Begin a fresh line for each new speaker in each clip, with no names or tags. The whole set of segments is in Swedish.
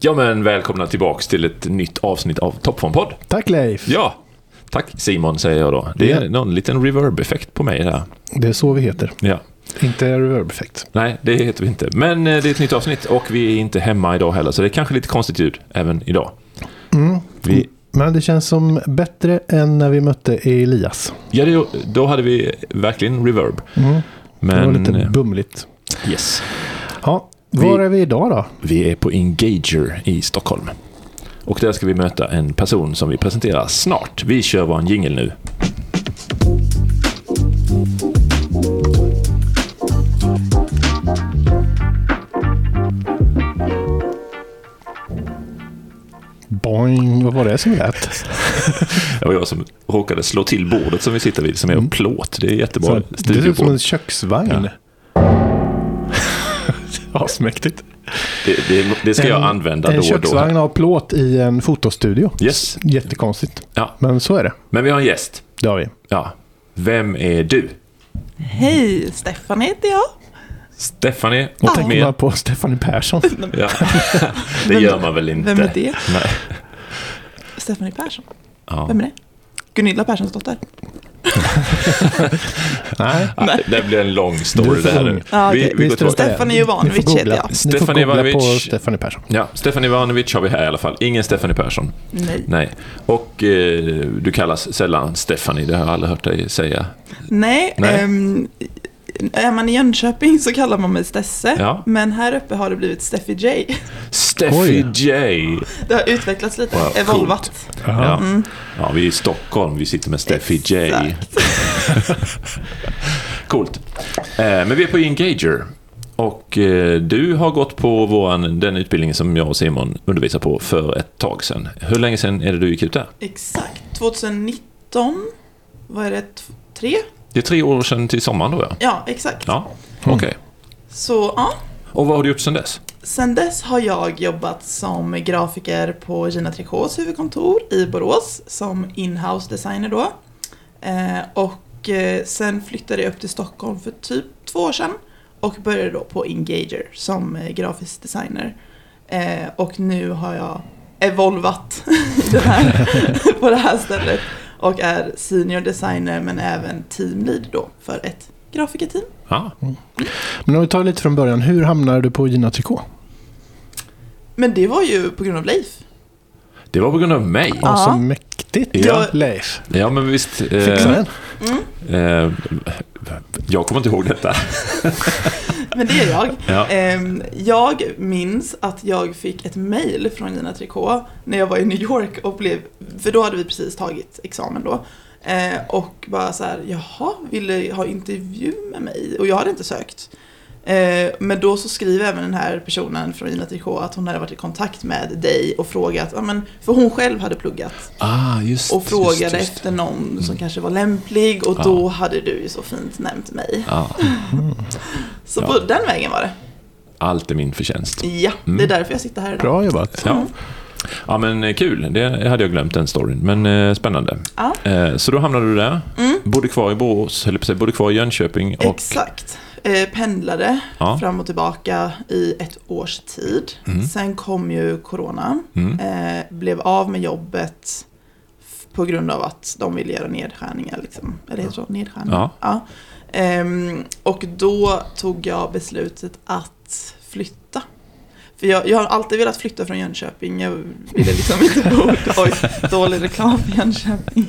Ja men välkomna tillbaks till ett nytt avsnitt av Toppformpodd.
Tack Leif!
Ja! Tack Simon säger jag då. Det är
Ja.
någon liten reverb-effekt på mig där.
Det är så vi heter.
Ja.
Inte reverb-effekt.
Nej, det heter vi inte. Men eh, det är ett nytt avsnitt och vi är inte hemma idag heller, så det är kanske lite konstigt ljud även idag. Vi,
Men det känns som bättre än när vi mötte Elias.
ja, det, då hade vi verkligen reverb.
Det var
Men...
lite
eh,
bumligt.
Yes.
Ja, var är vi idag då?
Vi är på Engager i Stockholm. Och där ska vi möta en person som vi presenterar snart. Vi kör vår jingel nu.
Boing, vad var det som lät?
Det var jag som råkade slå till bordet som vi sitter vid, som är av plåt. Det är
Mm. Så,
jättebra
det ser ut som
studiobord.
en köksvagn. Asmäktigt.
Det, det, det ska jag använda
en
då och då.
köksvagn av plåt i en fotostudio.
Yes.
Jättekonstigt.
Ja.
Men så är det.
Men vi har en gäst.
Det har vi.
Ja. Vem är du?
Hej, Stefan heter jag.
Stephanie
Och
och
tänker man
mer.
på Stefanie Persson.
Ja. Det gör man väl inte?
Vem är det?
Nej.
Stephanie Persson.
Ja.
Vem är det? Gunilla Perssons dotter.
Nej,
Nej, Det blir en lång story
Du är för
det här
ung.
nu.
Ja,
Vi,
okej.
vi går
Visst är det
tillbaka.
det?
Stefanie
Ni får
Ivanovic
googla.
heter jag.
Ni får
Stefanie
googla på
Ivanovic.
Stefanie Persson.
Ja, Stefan Ivanovic har vi här i alla fall. Ingen Stephanie Persson.
Nej.
Nej. Och eh, du kallas sällan Stephanie, det har jag aldrig hört dig säga.
Nej.
Nej.
ehm, är man i Jönköping så kallar man mig Stesse.
Ja.
Men här uppe har det blivit Steffi J.
Steffi
Oj.
J!
Det har utvecklats lite,
Wow,
evolvat.
Ja.
Mm.
ja, vi är i Stockholm, vi sitter med Steffi J.
Exakt.
Coolt. Eh, men vi är på Engager. Och eh, du har gått på våran, den utbildning som jag och Simon undervisar på för ett tag sedan. Hur länge sedan är det du gick ut där?
Exakt. 2019, vad är det, t- tre?
Det är tre år sedan till sommaren då ja.
Ja, exakt.
Ja, okej.
Så, ja.
Och vad har du gjort sedan dess?
Sen dess har jag jobbat som grafiker på Gina Tricots huvudkontor i Borås som inhouse designer då. Eh, och eh, sen flyttade jag upp till Stockholm för typ två år sedan och började då på Engager som eh, grafisk designer. Eh, och nu har jag evolvat i den här, på det här stället och är senior designer men även teamlead då för ett grafikerteam.
Ja,
Men om vi tar lite från början, hur hamnade du på Gina Tricot?
Men det var ju på grund av Leif.
det var på grund av mig.
Ja, så
Ja.
Alltså, mäktigt.
Ja.
Leif.
Ja, men visst. eh,
Fixa den.
Mm.
eh, jag kommer inte ihåg detta.
Men det är jag.
Ja.
Ehm, Jag minns att jag fick ett mail från Gina Tricot när jag var i New York och blev, för då hade vi precis tagit examen då. Eh, Och bara så här, jaha, ville ha intervju med mig? Och jag hade inte sökt. Eh, Men då så skriver även den här personen från Gina Tricot att hon hade varit i kontakt med dig och frågat, ja, men, för hon själv hade pluggat
Ah, just
och frågade
just, just.
efter någon som kanske var lämplig och
Ja.
då hade du ju så fint nämnt mig.
Ja,
Så
Ja.
på den vägen var det.
allt är min förtjänst.
Ja, det är därför jag sitter här idag. Mm.
Bra jobbat.
Mm. Ja. ja, men eh, kul. Det hade jag glömt den storyn, men eh, spännande.
Ja. Mm.
Eh, så då hamnade du där, bodde kvar i Borås, höll jag på att säga, bodde kvar i Jönköping och
Exakt. Eh, pendlade
Ja. Mm.
fram och tillbaka i ett års tid. Sen kom ju corona. Eh, blev av med jobbet f- på grund av att de ville göra nedskärningar. Liksom. Eller heter det så? Nedskärningar? Ja. Ehm, och då tog jag beslutet att flytta. För jag, jag har alltid velat flytta från Jönköping. Jag ville liksom inte bo... Oj, dålig reklam för Jönköping.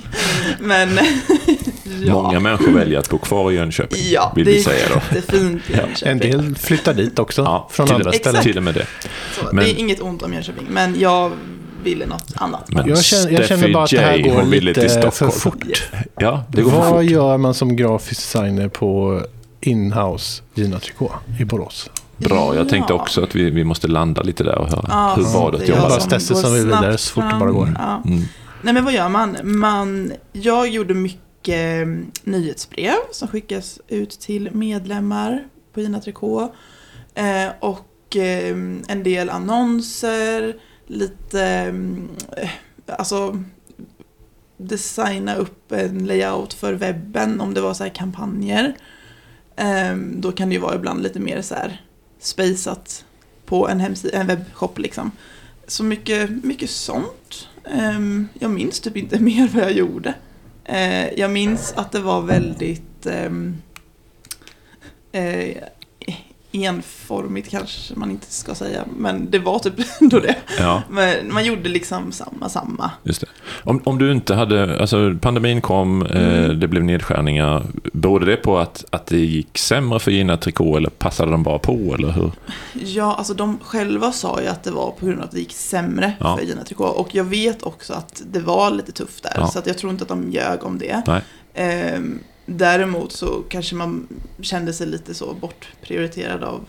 Men... ja.
många människor väljer att bo kvar i Jönköping,
Ja,
vill
det
vi
är
säga då.
jättefint i Jönköping.
En del flyttar dit också,
Ja,
från
till,
andra ställen.
Till och med det.
Så,
men-
Det är inget ont om Jönköping, men jag ville något annat.
Men
Jag känner, jag känner bara att det här
Steffi J,
går
hon ville till
lite för
Stockholm.
fort.
Ja, det går för
Vad
fort.
gör man som grafisk designer på inhouse Gina Tricot i Borås?
Bra, jag tänkte
Ja.
också att vi, vi måste landa lite där och höra.
Ja,
Hur
så
var det att
är
Jag
jobba där?
bara
som
stressar
går
som vi vill
snabbt
där så fort det
fram.
bara går.
Ja.
Mm.
Nej men vad gör man? man? Jag gjorde mycket eh, nyhetsbrev som skickas ut till medlemmar på Gina Tricot. Eh, och eh, en del annonser, lite... Eh, alltså designa upp en layout för webben om det var så här kampanjer. Eh, då kan det ju vara ibland lite mer så här spejsat på en, hemsida, en webbshop liksom. Så mycket, mycket sånt. Ehm, jag minns typ inte mer vad jag gjorde. Eh, jag minns att det var väldigt ehm, eh, enformigt kanske man inte ska säga, men det var typ ändå det.
Ja,
Men man gjorde liksom samma, samma.
just det. Om, om du inte hade, alltså pandemin kom, eh,
Mm.
det blev nedskärningar. Berodde det på att, att det gick sämre för Gina Tricot eller passade de bara på eller hur?
Ja, alltså de själva sa ju att det var på grund av att det gick sämre
Ja.
för Gina Tricot. Och jag vet också att det var lite tufft där,
Ja.
så att jag tror inte att de ljög om det.
Nej.
Ehm, däremot så kanske man kände sig lite så bortprioriterad av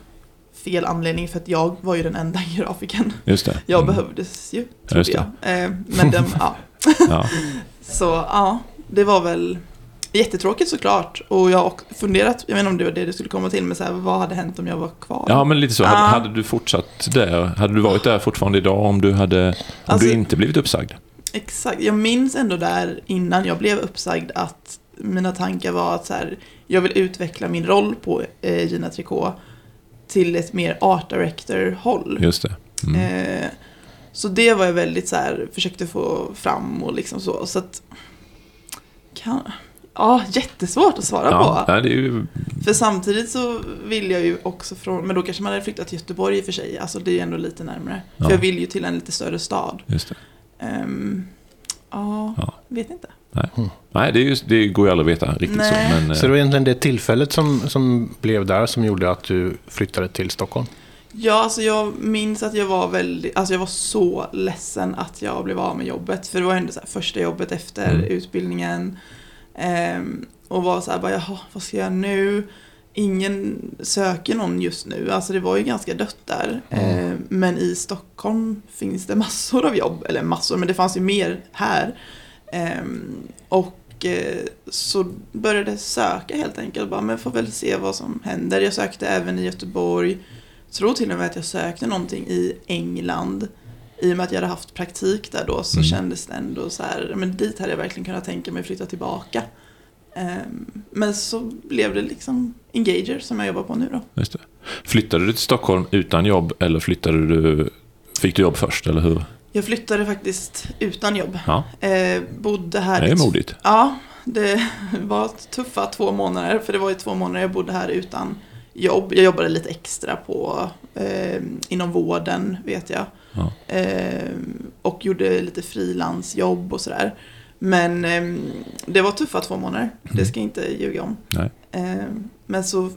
fel anledning, för att jag var ju den enda grafiken.
Just det.
Jag
Mm.
behövdes ju,
Ja, just
trodde jag. Ehm, men de, ja.
Ja,
Så ja, det var väl jättetråkigt såklart. Och jag har också funderat, jag vet inte om det var det du skulle komma till, men så här, vad hade hänt om jag var kvar?
ja men lite så. Hade,
Ja.
hade du fortsatt där? Hade du varit där fortfarande idag om du hade om
Alltså-
du inte blivit uppsagd?
Exakt, jag minns ändå där innan jag blev uppsagd att mina tankar var att så här, jag vill utveckla min roll på eh, Gina Tricot till ett mer art director-håll.
Just det. Mm.
Eh, så det var jag väldigt så här, försökte få fram och liksom så. så att, kan, ja, jättesvårt att svara
Ja,
på.
nej, det är ju,
För samtidigt så vill jag ju också från, men då kanske man hade flyttat till Göteborg i och för sig, alltså det är ju ändå lite närmare.
Ja.
För jag vill ju till en lite större stad.
just det.
Ehm, ja,
Ja.
vet inte.
Nej, det, är ju, det går ju aldrig att veta riktigt
Nej.
så. Men,
Så det
eh,
var egentligen det tillfället som, som blev där som gjorde att du flyttade till Stockholm?
Ja, alltså jag minns att jag var väldigt, alltså jag var så ledsen att jag blev av med jobbet. För det var ändå så här första jobbet efter
Mm.
utbildningen. Ehm, och var så här bara, jaha, vad ska jag nu? Ingen söker någon just nu, alltså det var ju ganska dött där.
Mm.
Ehm, men i Stockholm finns det massor av jobb, eller massor, men det fanns ju mer här. Ehm, och eh, så började jag söka helt enkelt, bara, men får väl se vad som händer. Jag sökte även i Göteborg, tror till och med att jag sökte någonting i England. I och med att jag hade haft praktik där då så
Mm.
kändes det ändå så här, men dit hade jag verkligen kunnat tänka mig flytta tillbaka. Ehm, Men så blev det liksom Engager som jag jobbar på nu då.
just det. Flyttade du till Stockholm utan jobb eller flyttade du... Fick du jobb först, eller hur?
Jag flyttade faktiskt utan jobb.
Ja,
Eh, bodde här
det
i
är
tv-
modigt.
Ja, det var tuffa två månader. För det var ju två månader jag bodde här utan jobb. Jag jobbade lite extra på, eh, inom vården vet jag.
Ja.
Eh, och gjorde lite frilansjobb och sådär. Men eh, det var tuffa två månader. Det ska jag inte ljuga om.
Mm. Nej.
Eh, men så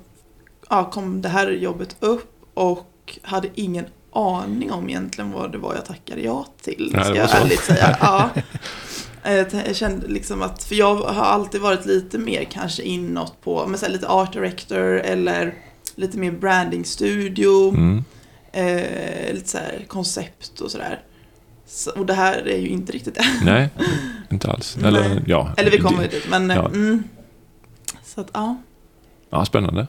ja, kom det här jobbet upp och hade ingen aning om egentligen vad det var jag tackade ja till.
Nej, det
ska
var
jag
så.
ärligt säga. Ja. Eh, Jag t- jag kände liksom att, för jag har alltid varit lite mer kanske inåt på, men så här, lite art director eller lite mer branding studio,
Mm.
eh, lite så här koncept och sådär. Så, och det här är ju inte riktigt det.
Nej, inte alls. Eller,
Nej.
Ja,
Eller vi kommer
det-
dit, men eh,
ja.
mm. Så att ja.
Ja, spännande.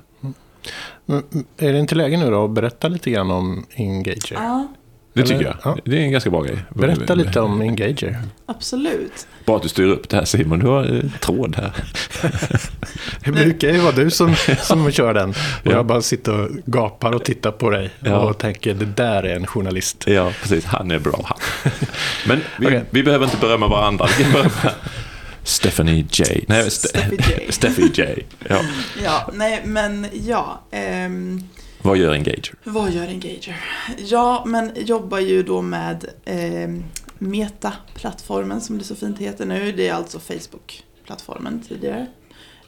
Men, mm, är det inte läge nu då att berätta lite grann om Engager?
ja.
Det
Eller-
tycker jag.
ja.
Det är en ganska bra grej.
Berätta lite om Engager.
Absolut.
Bra att du styr upp det här Simon, du har eh, tråd här.
Det brukar ju vara du som, som kör den. Och
Ja.
jag bara sitter och gapar och tittar på dig
Ja.
och tänker det där är en journalist.
Ja, precis. Han är bra han. Men vi,
Okej.
vi behöver inte berömma varandra. Vi kan berömma Stephanie J. Nej, Ste-
Steffi J.
Steffi J. Ja.
Ja, nej men ja. ehm,
Vad gör Engager?
Vad gör Engager? Ja, men jobbar ju då med eh, Meta-plattformen som det så fint heter nu. Det är alltså Facebook-plattformen tidigare.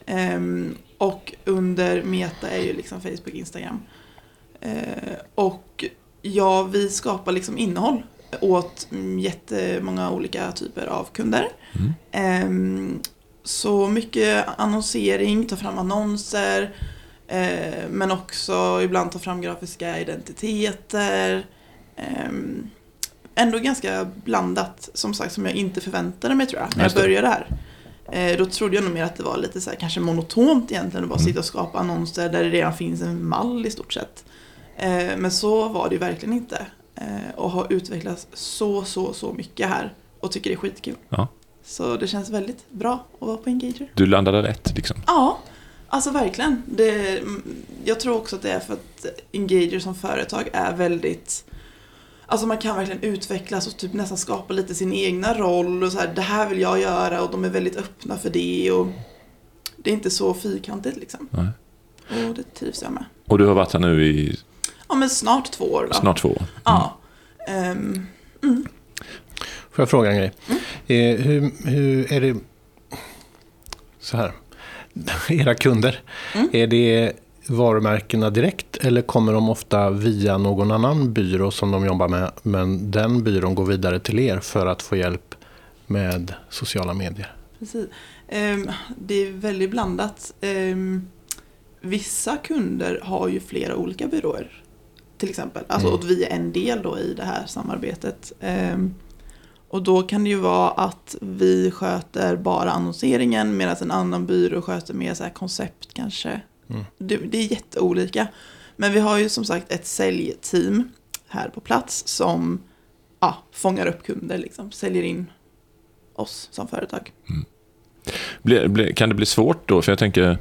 Ehm, och under Meta är ju liksom Facebook, Instagram. Eh, och ja, vi skapar liksom innehåll åt mm, jättemånga olika typer av kunder.
Mm.
Ehm, så mycket annonsering, ta fram annonser, Eh, men också ibland ta fram grafiska identiteter. Ehm, ändå ganska blandat, som sagt, som jag inte förväntade mig tror jag, när jag
Just det.
började här. Eh, då trodde jag nog mer att det var lite så här, kanske monotont egentligen att bara
Mm.
sitta och skapa annonser där det redan finns en mall i stort sett. Eh, men så var det ju verkligen inte. Eh, och har utvecklats så, så, så mycket här och tycker det är skitkul.
Ja.
Så det känns väldigt bra att vara på Engager.
Du landade rätt liksom.
Ja, alltså verkligen. Det, mm, jag tror också att det är för att Engager som företag är väldigt Alltså man kan verkligen utvecklas och typ nästan skapa lite sin egna roll och så här, det här vill jag göra och de är väldigt öppna för det och det är inte så fyrkantigt liksom.
Nej.
Och det trivs jag med.
Och du har varit här nu i
Ja men snart två år då.
snart mm. två år.
Ja. Ehm,
Får jag fråga en grej?
Mm.
Eh, hur, hur är det... Så här. Era kunder.
Mm.
Är det varumärkena direkt eller kommer de ofta via någon annan byrå som de jobbar med men den byrån går vidare till er för att få hjälp med sociala medier?
Precis. Ehm, det är väldigt blandat. Ehm, vissa kunder har ju flera olika byråer. Till exempel. Alltså,
Mm.
Och vi är en del då i det här samarbetet. Ehm, och då kan det ju vara att vi sköter bara annonseringen medan en annan byrå sköter mer så här koncept kanske.
Mm.
Det, det är jätteolika. Men vi har ju som sagt ett säljteam här på plats som ja, fångar upp kunder, liksom, säljer in oss som företag.
Blir- blir- Kan det bli svårt då? För jag tänker,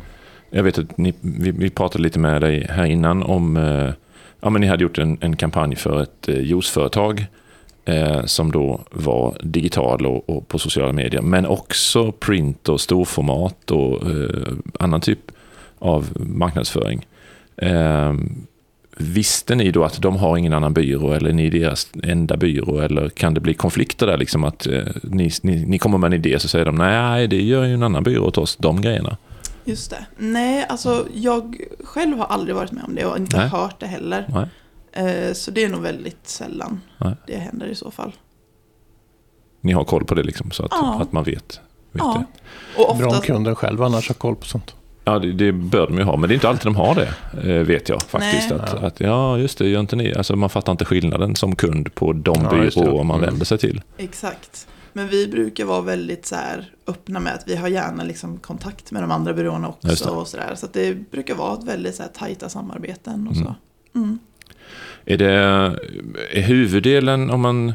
jag vet att ni, vi, vi pratade lite med dig här innan om, eh, ja men ni hade gjort en, en kampanj för ett eh, juiceföretag eh, som då var digital och, och på sociala medier, men också print och storformat och eh, annan typ av marknadsföring. Eh, visste ni då att de har ingen annan byrå eller ni är deras enda byrå eller kan det bli konflikter där liksom att eh, ni, ni, ni kommer med en idé så säger de nej det gör ju en annan byrå åt oss, de grejerna.
Just det. Nej, alltså jag själv har aldrig varit med om det och inte
Nej.
hört det heller.
Nej.
Eh, Så det är nog väldigt sällan
Nej.
det händer i så fall.
Ni har koll på det liksom så att,
Ja.
att man vet. vet
Ja.
det.
Och
Bra om
oftast,
kunden själv annars har koll på sånt.
Ja, det, det bör de ju ha, men det är inte alltid de har det, eh, vet jag faktiskt.
Nej.
Att, att, ja, just det, gör inte ni. Alltså, man fattar inte skillnaden som kund på de
Ja, just det.
byråer man
Mm.
vänder sig till.
exakt. Men vi brukar vara väldigt så här öppna med att vi har gärna liksom kontakt med de andra byråerna
Just
också.
det.
Och så, där. så att det brukar vara ett väldigt så här tajta samarbeten och
Mm.
så. Mm.
Är det är huvuddelen, om man,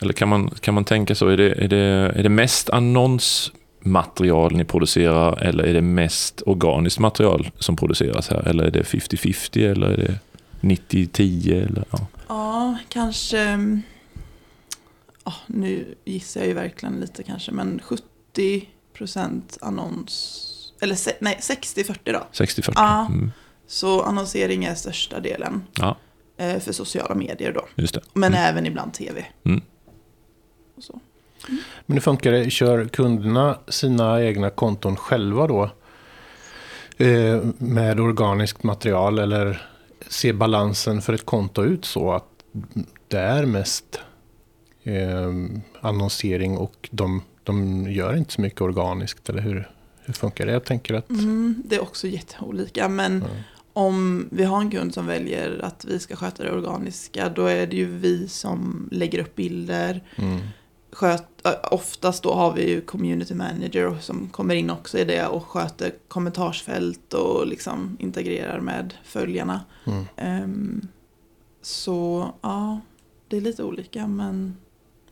eller kan man, kan man tänka så, är det, är, det, är det mest annonsmaterial ni producerar eller är det mest organiskt material som produceras här? Eller är det 50-50 eller är det 90-10? Eller, ja.
Ja, kanske... mm, ja, nu gissar jag ju verkligen lite kanske, men 70% annons... Eller se, nej, 60-40 då.
60-40?
Ja.
Mm,
Så annonsering är största delen
Ja.
eh, för sociala medier då.
just det.
Men eh,
Mm.
även ibland tv.
Mm.
Och så.
Men hur funkar det? Kör kunderna sina egna konton själva då? Eh, med organiskt material eller ser balansen för ett konto ut så att det är mest eh, annonsering och de, de gör inte så mycket organiskt? Eller hur, hur funkar det? Jag tänker att...
Mm, det är också jätteolika, men
Mm.
om vi har en kund som väljer att vi ska sköta det organiska, då är det ju vi som lägger upp bilder,
Mm,
sköt, ö, oftast då har vi ju community manager som kommer in också i det och sköter kommentarsfält och liksom integrerar med följarna.
mm.
Ehm, så ja, det är lite olika men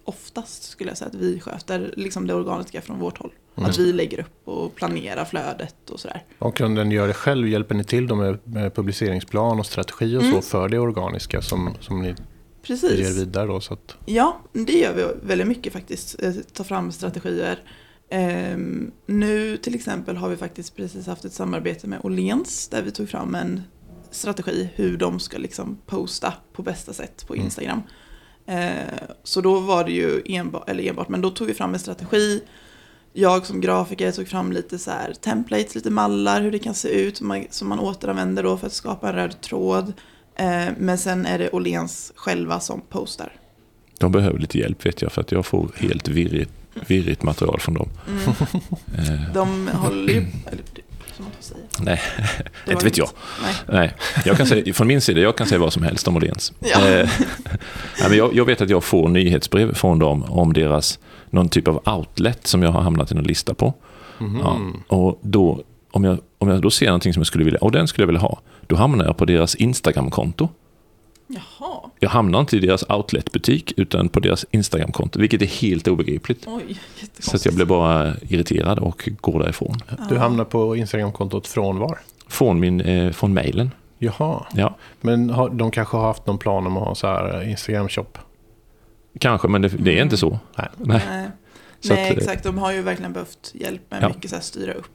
oftast skulle jag säga att vi sköter liksom det organiska från vårt håll.
Mm.
Att vi lägger upp och planerar flödet och sådär.
Om kunden gör det själv, hjälper ni till dem med, med publiceringsplan och strategi och
Mm.
så för det organiska som, som ni ger
Precis.
vidare? Då, så att,
Ja, det gör vi väldigt mycket faktiskt. Eh, Ta fram strategier. Ehm, nu till exempel har vi faktiskt precis haft ett samarbete med Åhléns där vi tog fram en strategi hur de ska liksom posta på bästa sätt på
Mm.
Instagram. Eh, så då var det ju enbart, eller enbart, men då tog vi fram en strategi. Jag som grafiker tog fram lite så här templates, lite mallar, hur det kan se ut som man, som man återanvänder då för att skapa en röd tråd. Eh, men sen är det Åhléns själva som postar.
De behöver lite hjälp vet jag för att jag får helt virrigt, virrigt material från dem.
Mm.
Eh,
De håller ju... Eller, det- som man får säga.
Mm. Nej,
Det
inte
var
vet jag.
inget. Nej.
Nej, jag kan säga, från min sida, jag kan säga vad som helst om Åhléns.
Ja.
Eh, nej, men jag, jag vet att jag får nyhetsbrev från dem om deras, någon typ av outlet som jag har hamnat i någon lista på.
Mhm.
Ja, och då, om jag, om jag då ser någonting som jag skulle vilja, och den skulle jag vilja ha, då hamnar jag på deras Instagram-konto.
Jaha,
Jag hamnar inte i deras outletbutik, utan på deras Instagram-konto, vilket är helt obegripligt.
oj,
Så att
jättekonstigt.
jag blir bara irriterad och går därifrån.
Du hamnar på Instagram-kontot från var?
Från, min, eh, från mailen.
Jaha,
Ja.
men har, de kanske har haft någon plan om att ha så här eh, Instagram-shop?
Kanske, men det, det är inte så.
Nej.
Nej.
Nej,
Så
Nej
att, eh,
exakt. De har ju verkligen behövt hjälp med
Ja.
mycket så här, styra upp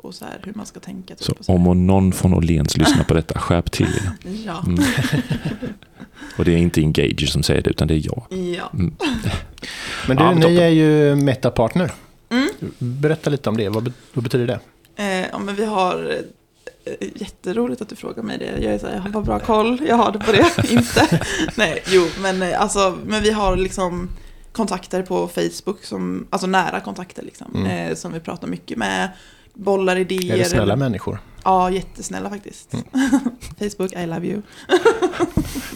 och så här, hur man ska tänka. Typ,
Så
och så här.
om och någon från Åhléns lyssnar på detta, skärp till er.
Ja.
Mm. Och det är inte Engage som säger det, utan det är jag.
ja.
Men du,
Ja, men
ni
toppen.
är ju metapartner.
Mm.
Berätta lite om det. Vad, be- vad betyder det?
Eh, ja, men vi har eh, jätteroligt att du frågar mig det. Jag är så här, jag har bara bra koll, jag har det på det, inte. Nej, jo, men eh, alltså, men vi har liksom kontakter på Facebook, som, alltså nära kontakter liksom,
Mm.
eh, som vi pratar mycket med, bollar idéer.
Är det snälla Mm. människor?
Ja, jättesnälla faktiskt. Facebook, I love you.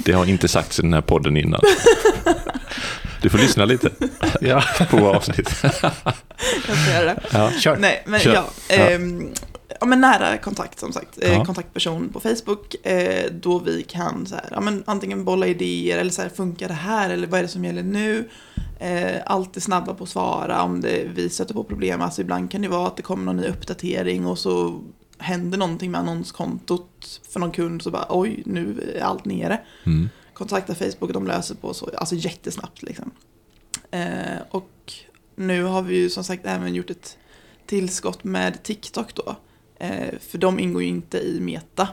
Det har inte sagts i den här podden innan. Du får lyssna lite
Ja,
på våra avsnitt.
Jag ska göra det.
kör.
Nej, men
Kör.
ja. ehm, ja, men nära kontakt som sagt. Eh,
Ja.
Kontaktperson på Facebook. Eh, då vi kan så här, ja, men antingen bolla idéer eller så här, funkar det här eller vad är det som gäller nu? Eh, alltid snabba på att svara om det, vi stöter på problem. Alltså ibland kan det vara att det kommer någon ny uppdatering och så händer någonting med annonskontot för någon kund så bara oj, nu är allt nere
Mm.
kontakta Facebook, de löser på så, alltså jättesnabbt liksom. Eh, och nu har vi ju som sagt även gjort ett tillskott med TikTok då. Eh, för de ingår ju inte i Meta.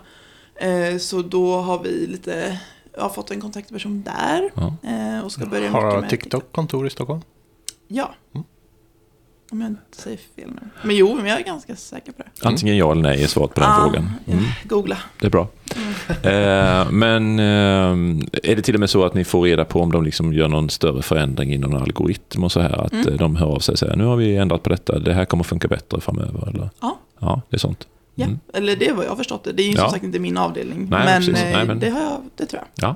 Eh, så då har vi lite, ja, fått en kontaktperson där.
Ja.
Eh, och ska börja mycket
Mm. Har
med
TikTok kontor i Stockholm?
Ja.
Mm.
Om jag inte säger fel nu. Men jo, men jag är ganska säker på det.
Antingen ja eller nej är svaret på den
Ah,
frågan. Mm.
Googla.
Det är bra.
Mm.
Eh, men eh, är det till och med så att ni får reda på om de liksom gör någon större förändring i någon algoritm och så här? Att
Mm.
eh, de hör av sig och säger nu har vi ändrat på detta, det här kommer funka bättre framöver? Eller?
Ja.
Ja, det är sånt.
Ja,
Mm.
eller det är vad jag har förstått det. Det är ju
Ja.
som sagt inte min avdelning.
Nej,
men,
precis.
eh,
Nej, men-
Det, har jag, det tror jag.
Ja.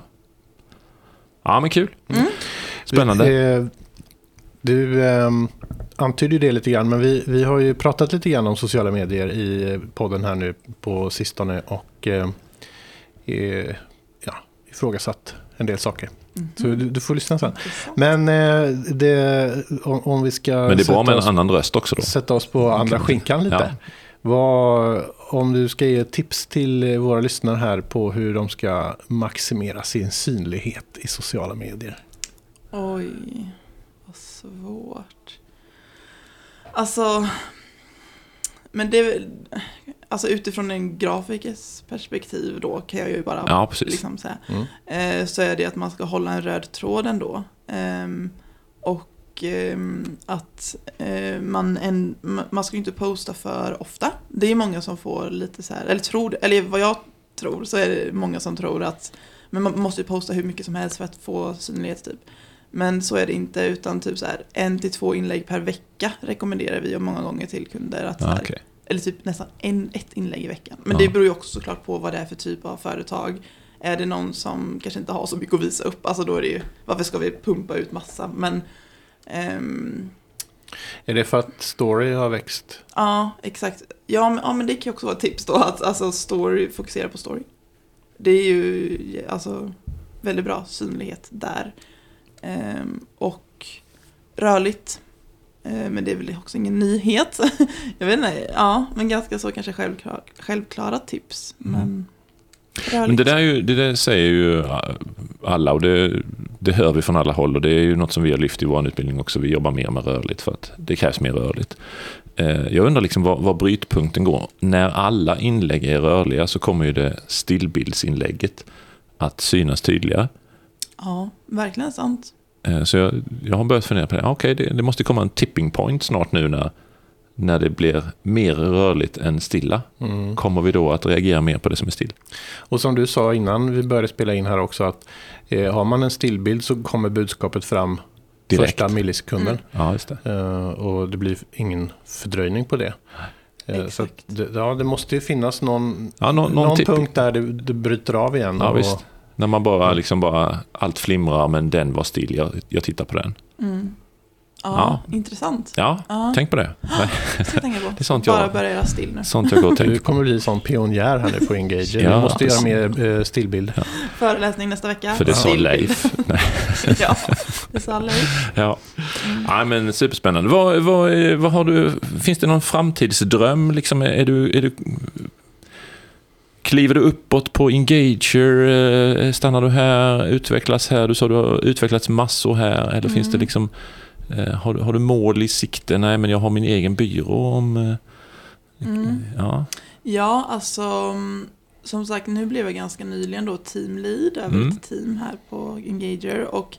Ja, men kul.
Mm.
Spännande.
Eh, Du ehm, antydde ju det lite grann, men vi, vi har ju pratat lite grann om sociala medier i eh, podden här nu på sistone och eh, eh, ja, ifrågasatt en del saker.
Mm.
Så du, du får lyssna sen.
Intressant.
Men eh, det, om, om vi ska
Men det är bra
sätta
med en
oss,
annan röst också då.
sätta oss på andra skinkan lite. Vad, om du ska ge tips till eh, våra lyssnare här på hur de ska maximera sin synlighet i sociala medier.
Oj, vad svårt. Alltså, men det är väl- alltså utifrån en grafikers perspektiv då kan jag ju bara
Ja, precis.
liksom säga.
Mm.
Eh, så är det att man ska hålla en röd tråd ändå. Ehm, och ehm, att eh, man, en, ma- man ska ju inte posta för ofta. Det är många som får lite så här, eller tror, eller vad jag tror så är det många som tror att men man måste ju posta hur mycket som helst för att få synlighet typ. Men så är det inte utan typ så här en till två inlägg per vecka rekommenderar vi och många gånger till kunder att så
Ja,
här,
Ah, okej.
eller typ nästan en, ett inlägg i veckan. Men
Ja.
det beror ju också såklart på vad det är för typ av företag. Är det någon som kanske inte har så mycket att visa upp, alltså då är det ju, varför ska vi pumpa ut massa? Men ehm,
Är det för att story har växt?
ja, exakt. Ja men, ja, men det kan ju också vara ett tips då, att alltså story, fokusera på story. Det är ju alltså väldigt bra synlighet där. Ehm, och rörligt. Eh, Men det är väl också ingen nyhet. Jag vet inte, ja, men ganska så kanske självklara, självklara tips.
Mm.
Men
Men
rörligt.
det där, är ju, det där säger ju äh, alla och det, det hör vi från alla håll och det är ju något som vi har lyft i vår utbildning också. Vi jobbar mer med rörligt för att det krävs mer rörligt. Eh, Jag undrar liksom var, var brytpunkten går. När alla inlägg är rörliga så kommer ju det stillbildsinlägget att synas tydligare.
Ja, verkligen sant.
Eh, Så jag, jag har börjat fundera på det. Ah, Okej, det, det måste komma en tipping point snart nu när, när det blir mer rörligt än stilla.
Mm.
Kommer vi då att reagera mer på det som är still?
Och som du sa innan vi började spela in här också att eh, har man en stillbild så kommer budskapet fram
Direkt.
första millisekunden.
Ja, just det.
Eh, och det blir ingen fördröjning på det. Eh, så att
Exakt.
det, ja, det måste ju finnas någon,
Ja, nå- någon
någon,
tipp-
punkt där det, det bryter av igen.
Ja,
och,
visst. När man bara, liksom bara, allt flimrar men den var still, jag, jag tittar på den.
Mm. Ja,
Ja.
intressant.
Ja,
Ja.
tänk på det. Nej,
Det ska jag tänka på.
är sånt jag-
Bara börja göra still nu.
sånt jag går och
Du
tänker på.
kommer bli sån pionjär här nu på Engage.
Ja,
du måste göra
precis.
mer eh, stillbild.
Föreläsning nästa vecka.
För det sa
Still.
Leif. Nej,
ja, det sa Leif.
ja. Nej, men superspännande. Vad, vad, är- vad har du, finns det någon framtidsdröm? Liksom, är, är du, är du Kliver du uppåt på Engager? eh, Stannar du här? Utvecklas här? Du sa du har utvecklats massor här. Eller finns det
Mm.
liksom... eh, Har, du- har du mål i sikte? Nej, men jag har min egen byrå om... eh,
Mm.
Ja.
Ja, alltså mm, som sagt, nu blev jag ganska nyligen då team lead över
Mm.
ett team här på Engager och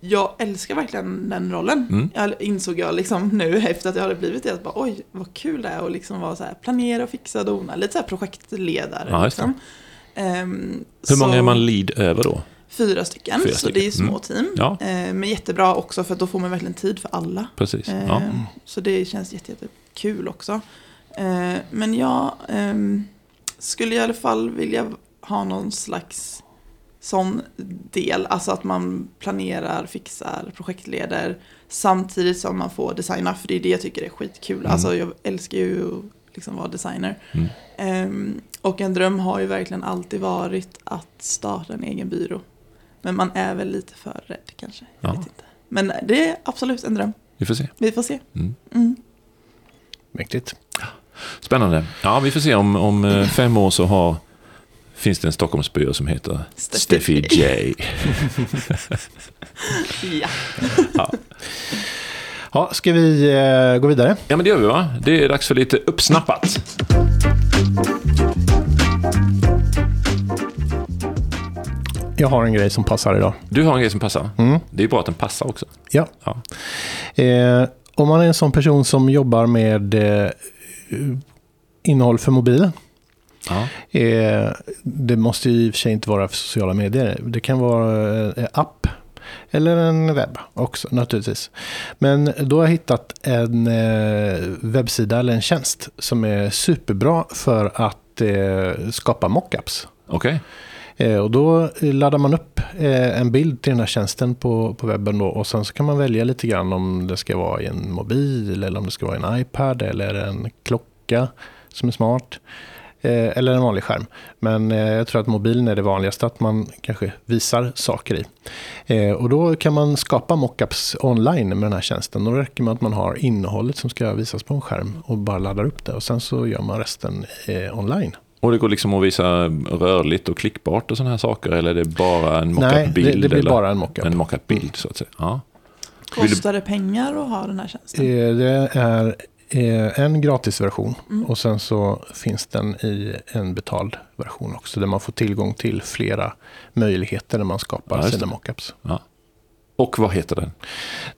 jag älskar verkligen den rollen.
Mm.
Jag insåg jag liksom nu efter att jag hade blivit det att bara oj vad kul det är att liksom vara så här planera och fixa och dona, lite så här projektledare.
Ja, just det.
liksom. Ehm,
Hur
så-
många är man lead över då?
Fyra stycken,
Fyra
så
stycken.
det är små
Mm.
team.
Ja.
Ehm, men jättebra också för att då får man verkligen tid för alla.
Precis.
Eh,
Ja.
Så det känns jättekul jätte kul också. Eh, Men jag ehm, skulle i alla fall vilja ha någon slags sån del, alltså att man planerar, fixar, projektleder samtidigt som man får designa, för det är det jag tycker är skitkul.
Mm.
Alltså jag älskar ju att liksom vara designer.
Mm.
Ehm, och en dröm har ju verkligen alltid varit att starta en egen byrå. Men man är väl lite för rädd kanske. Jag
Ja.
vet inte. Men det är absolut en dröm.
Vi får se.
Vi får se.
Mm.
Mm.
Mäktigt.
Spännande. Ja, vi får se om, om eh, fem år så har, finns det en Stockholmsbyrå som heter
Steffi
Steffi J.
Ja.
Ja, ska vi eh, gå vidare?
Ja, men det gör vi va? Det är dags för lite uppsnappat.
Jag har en grej som passar idag.
Du har en grej som passar.
Mm.
Det är bra att den passar också.
Ja.
Ja.
Eh, om man är en sån person som jobbar med eh, innehåll för mobilen.
Ja.
Eh, det måste ju i och för sig inte vara för sociala medier. Det kan vara eh, app eller en webb också naturligtvis. Men då har jag hittat en eh, webbsida eller en tjänst som är superbra för att eh, skapa mockups.
Okej.
Eh, och då eh, laddar man upp eh, en bild till den här tjänsten på, på webben då, och sen så kan man välja lite grann om det ska vara i en mobil eller om det ska vara i en iPad eller en klocka som är smart. Eh, eller en vanlig skärm. Men eh, jag tror att mobilen är det vanligaste att man kanske visar saker i. Eh, och då kan man skapa mockups online med den här tjänsten. Då räcker det med att man har innehållet som ska visas på en skärm och bara laddar upp det. Och sen så gör man resten eh, online.
Och det går liksom att visa rörligt och klickbart och sådana här saker? Eller är det bara en
Nej, det,
mockup-bild?
det blir
eller
bara en mockup.
en mockup-bild så att säga. Ja. Vill du-
Kostar det pengar att ha den här tjänsten?
Eh, Det är eh, en gratisversion
Mm.
och sen så finns den i en betald version också där man får tillgång till flera möjligheter när man skapar
Ja, just
sina
det.
mockups.
Och vad heter den?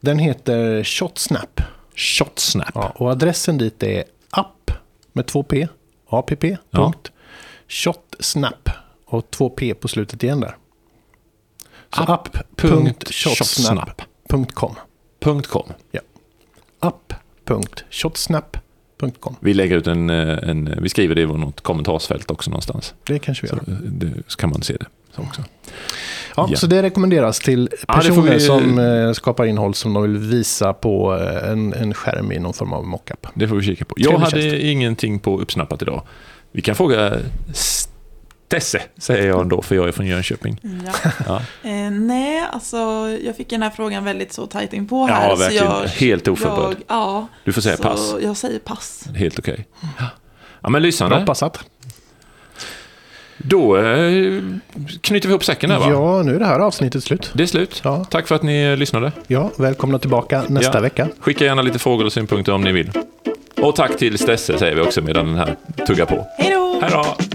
Den heter ShotSnap
Shotsnap.
ja, och adressen dit är app med 2p, app,
Ja.
punkt, shotsnap och 2p på slutet igen där. Så app.shotsnap.com
.com.
app.shotsnap.com
Vi lägger ut en, eh, en... Vi skriver det i något kommentarsfält också någonstans.
Det kanske vi gör.
Eh, det- Så kan man se det så också.
Ja,
Ja.
Så det rekommenderas till
Ja, det får
personer
vi-
som eh, skapar innehåll som de vill visa på eh, en, en skärm i någon form av mockup.
Det får vi kika på. Jag
Trevlig
hade
tjänst.
ingenting på uppsnappat idag. Vi kan fråga Stesse, säger jag då, för jag är från Jönköping.
Ja.
Ja.
Eh, nej, alltså jag fick den här frågan väldigt så tajt inpå här.
Ja, verkligen.
Så jag,
Helt oförberedd.
Jag, ja,
Du får säga
så
pass.
Jag säger pass.
Helt okej. Ja. Ja, men
Bra
lysande.
passat.
Då eh, knyter vi ihop säcken här, va?
Ja, nu är det här avsnittet slut.
Det är slut.
Ja.
Tack för att ni eh, lyssnade.
Ja, välkomna tillbaka nästa
Ja.
vecka.
Skicka gärna lite frågor och synpunkter om ni vill. Och tack till Stesse, säger vi också medan den här tuggar på.
Hej då!
Hej då!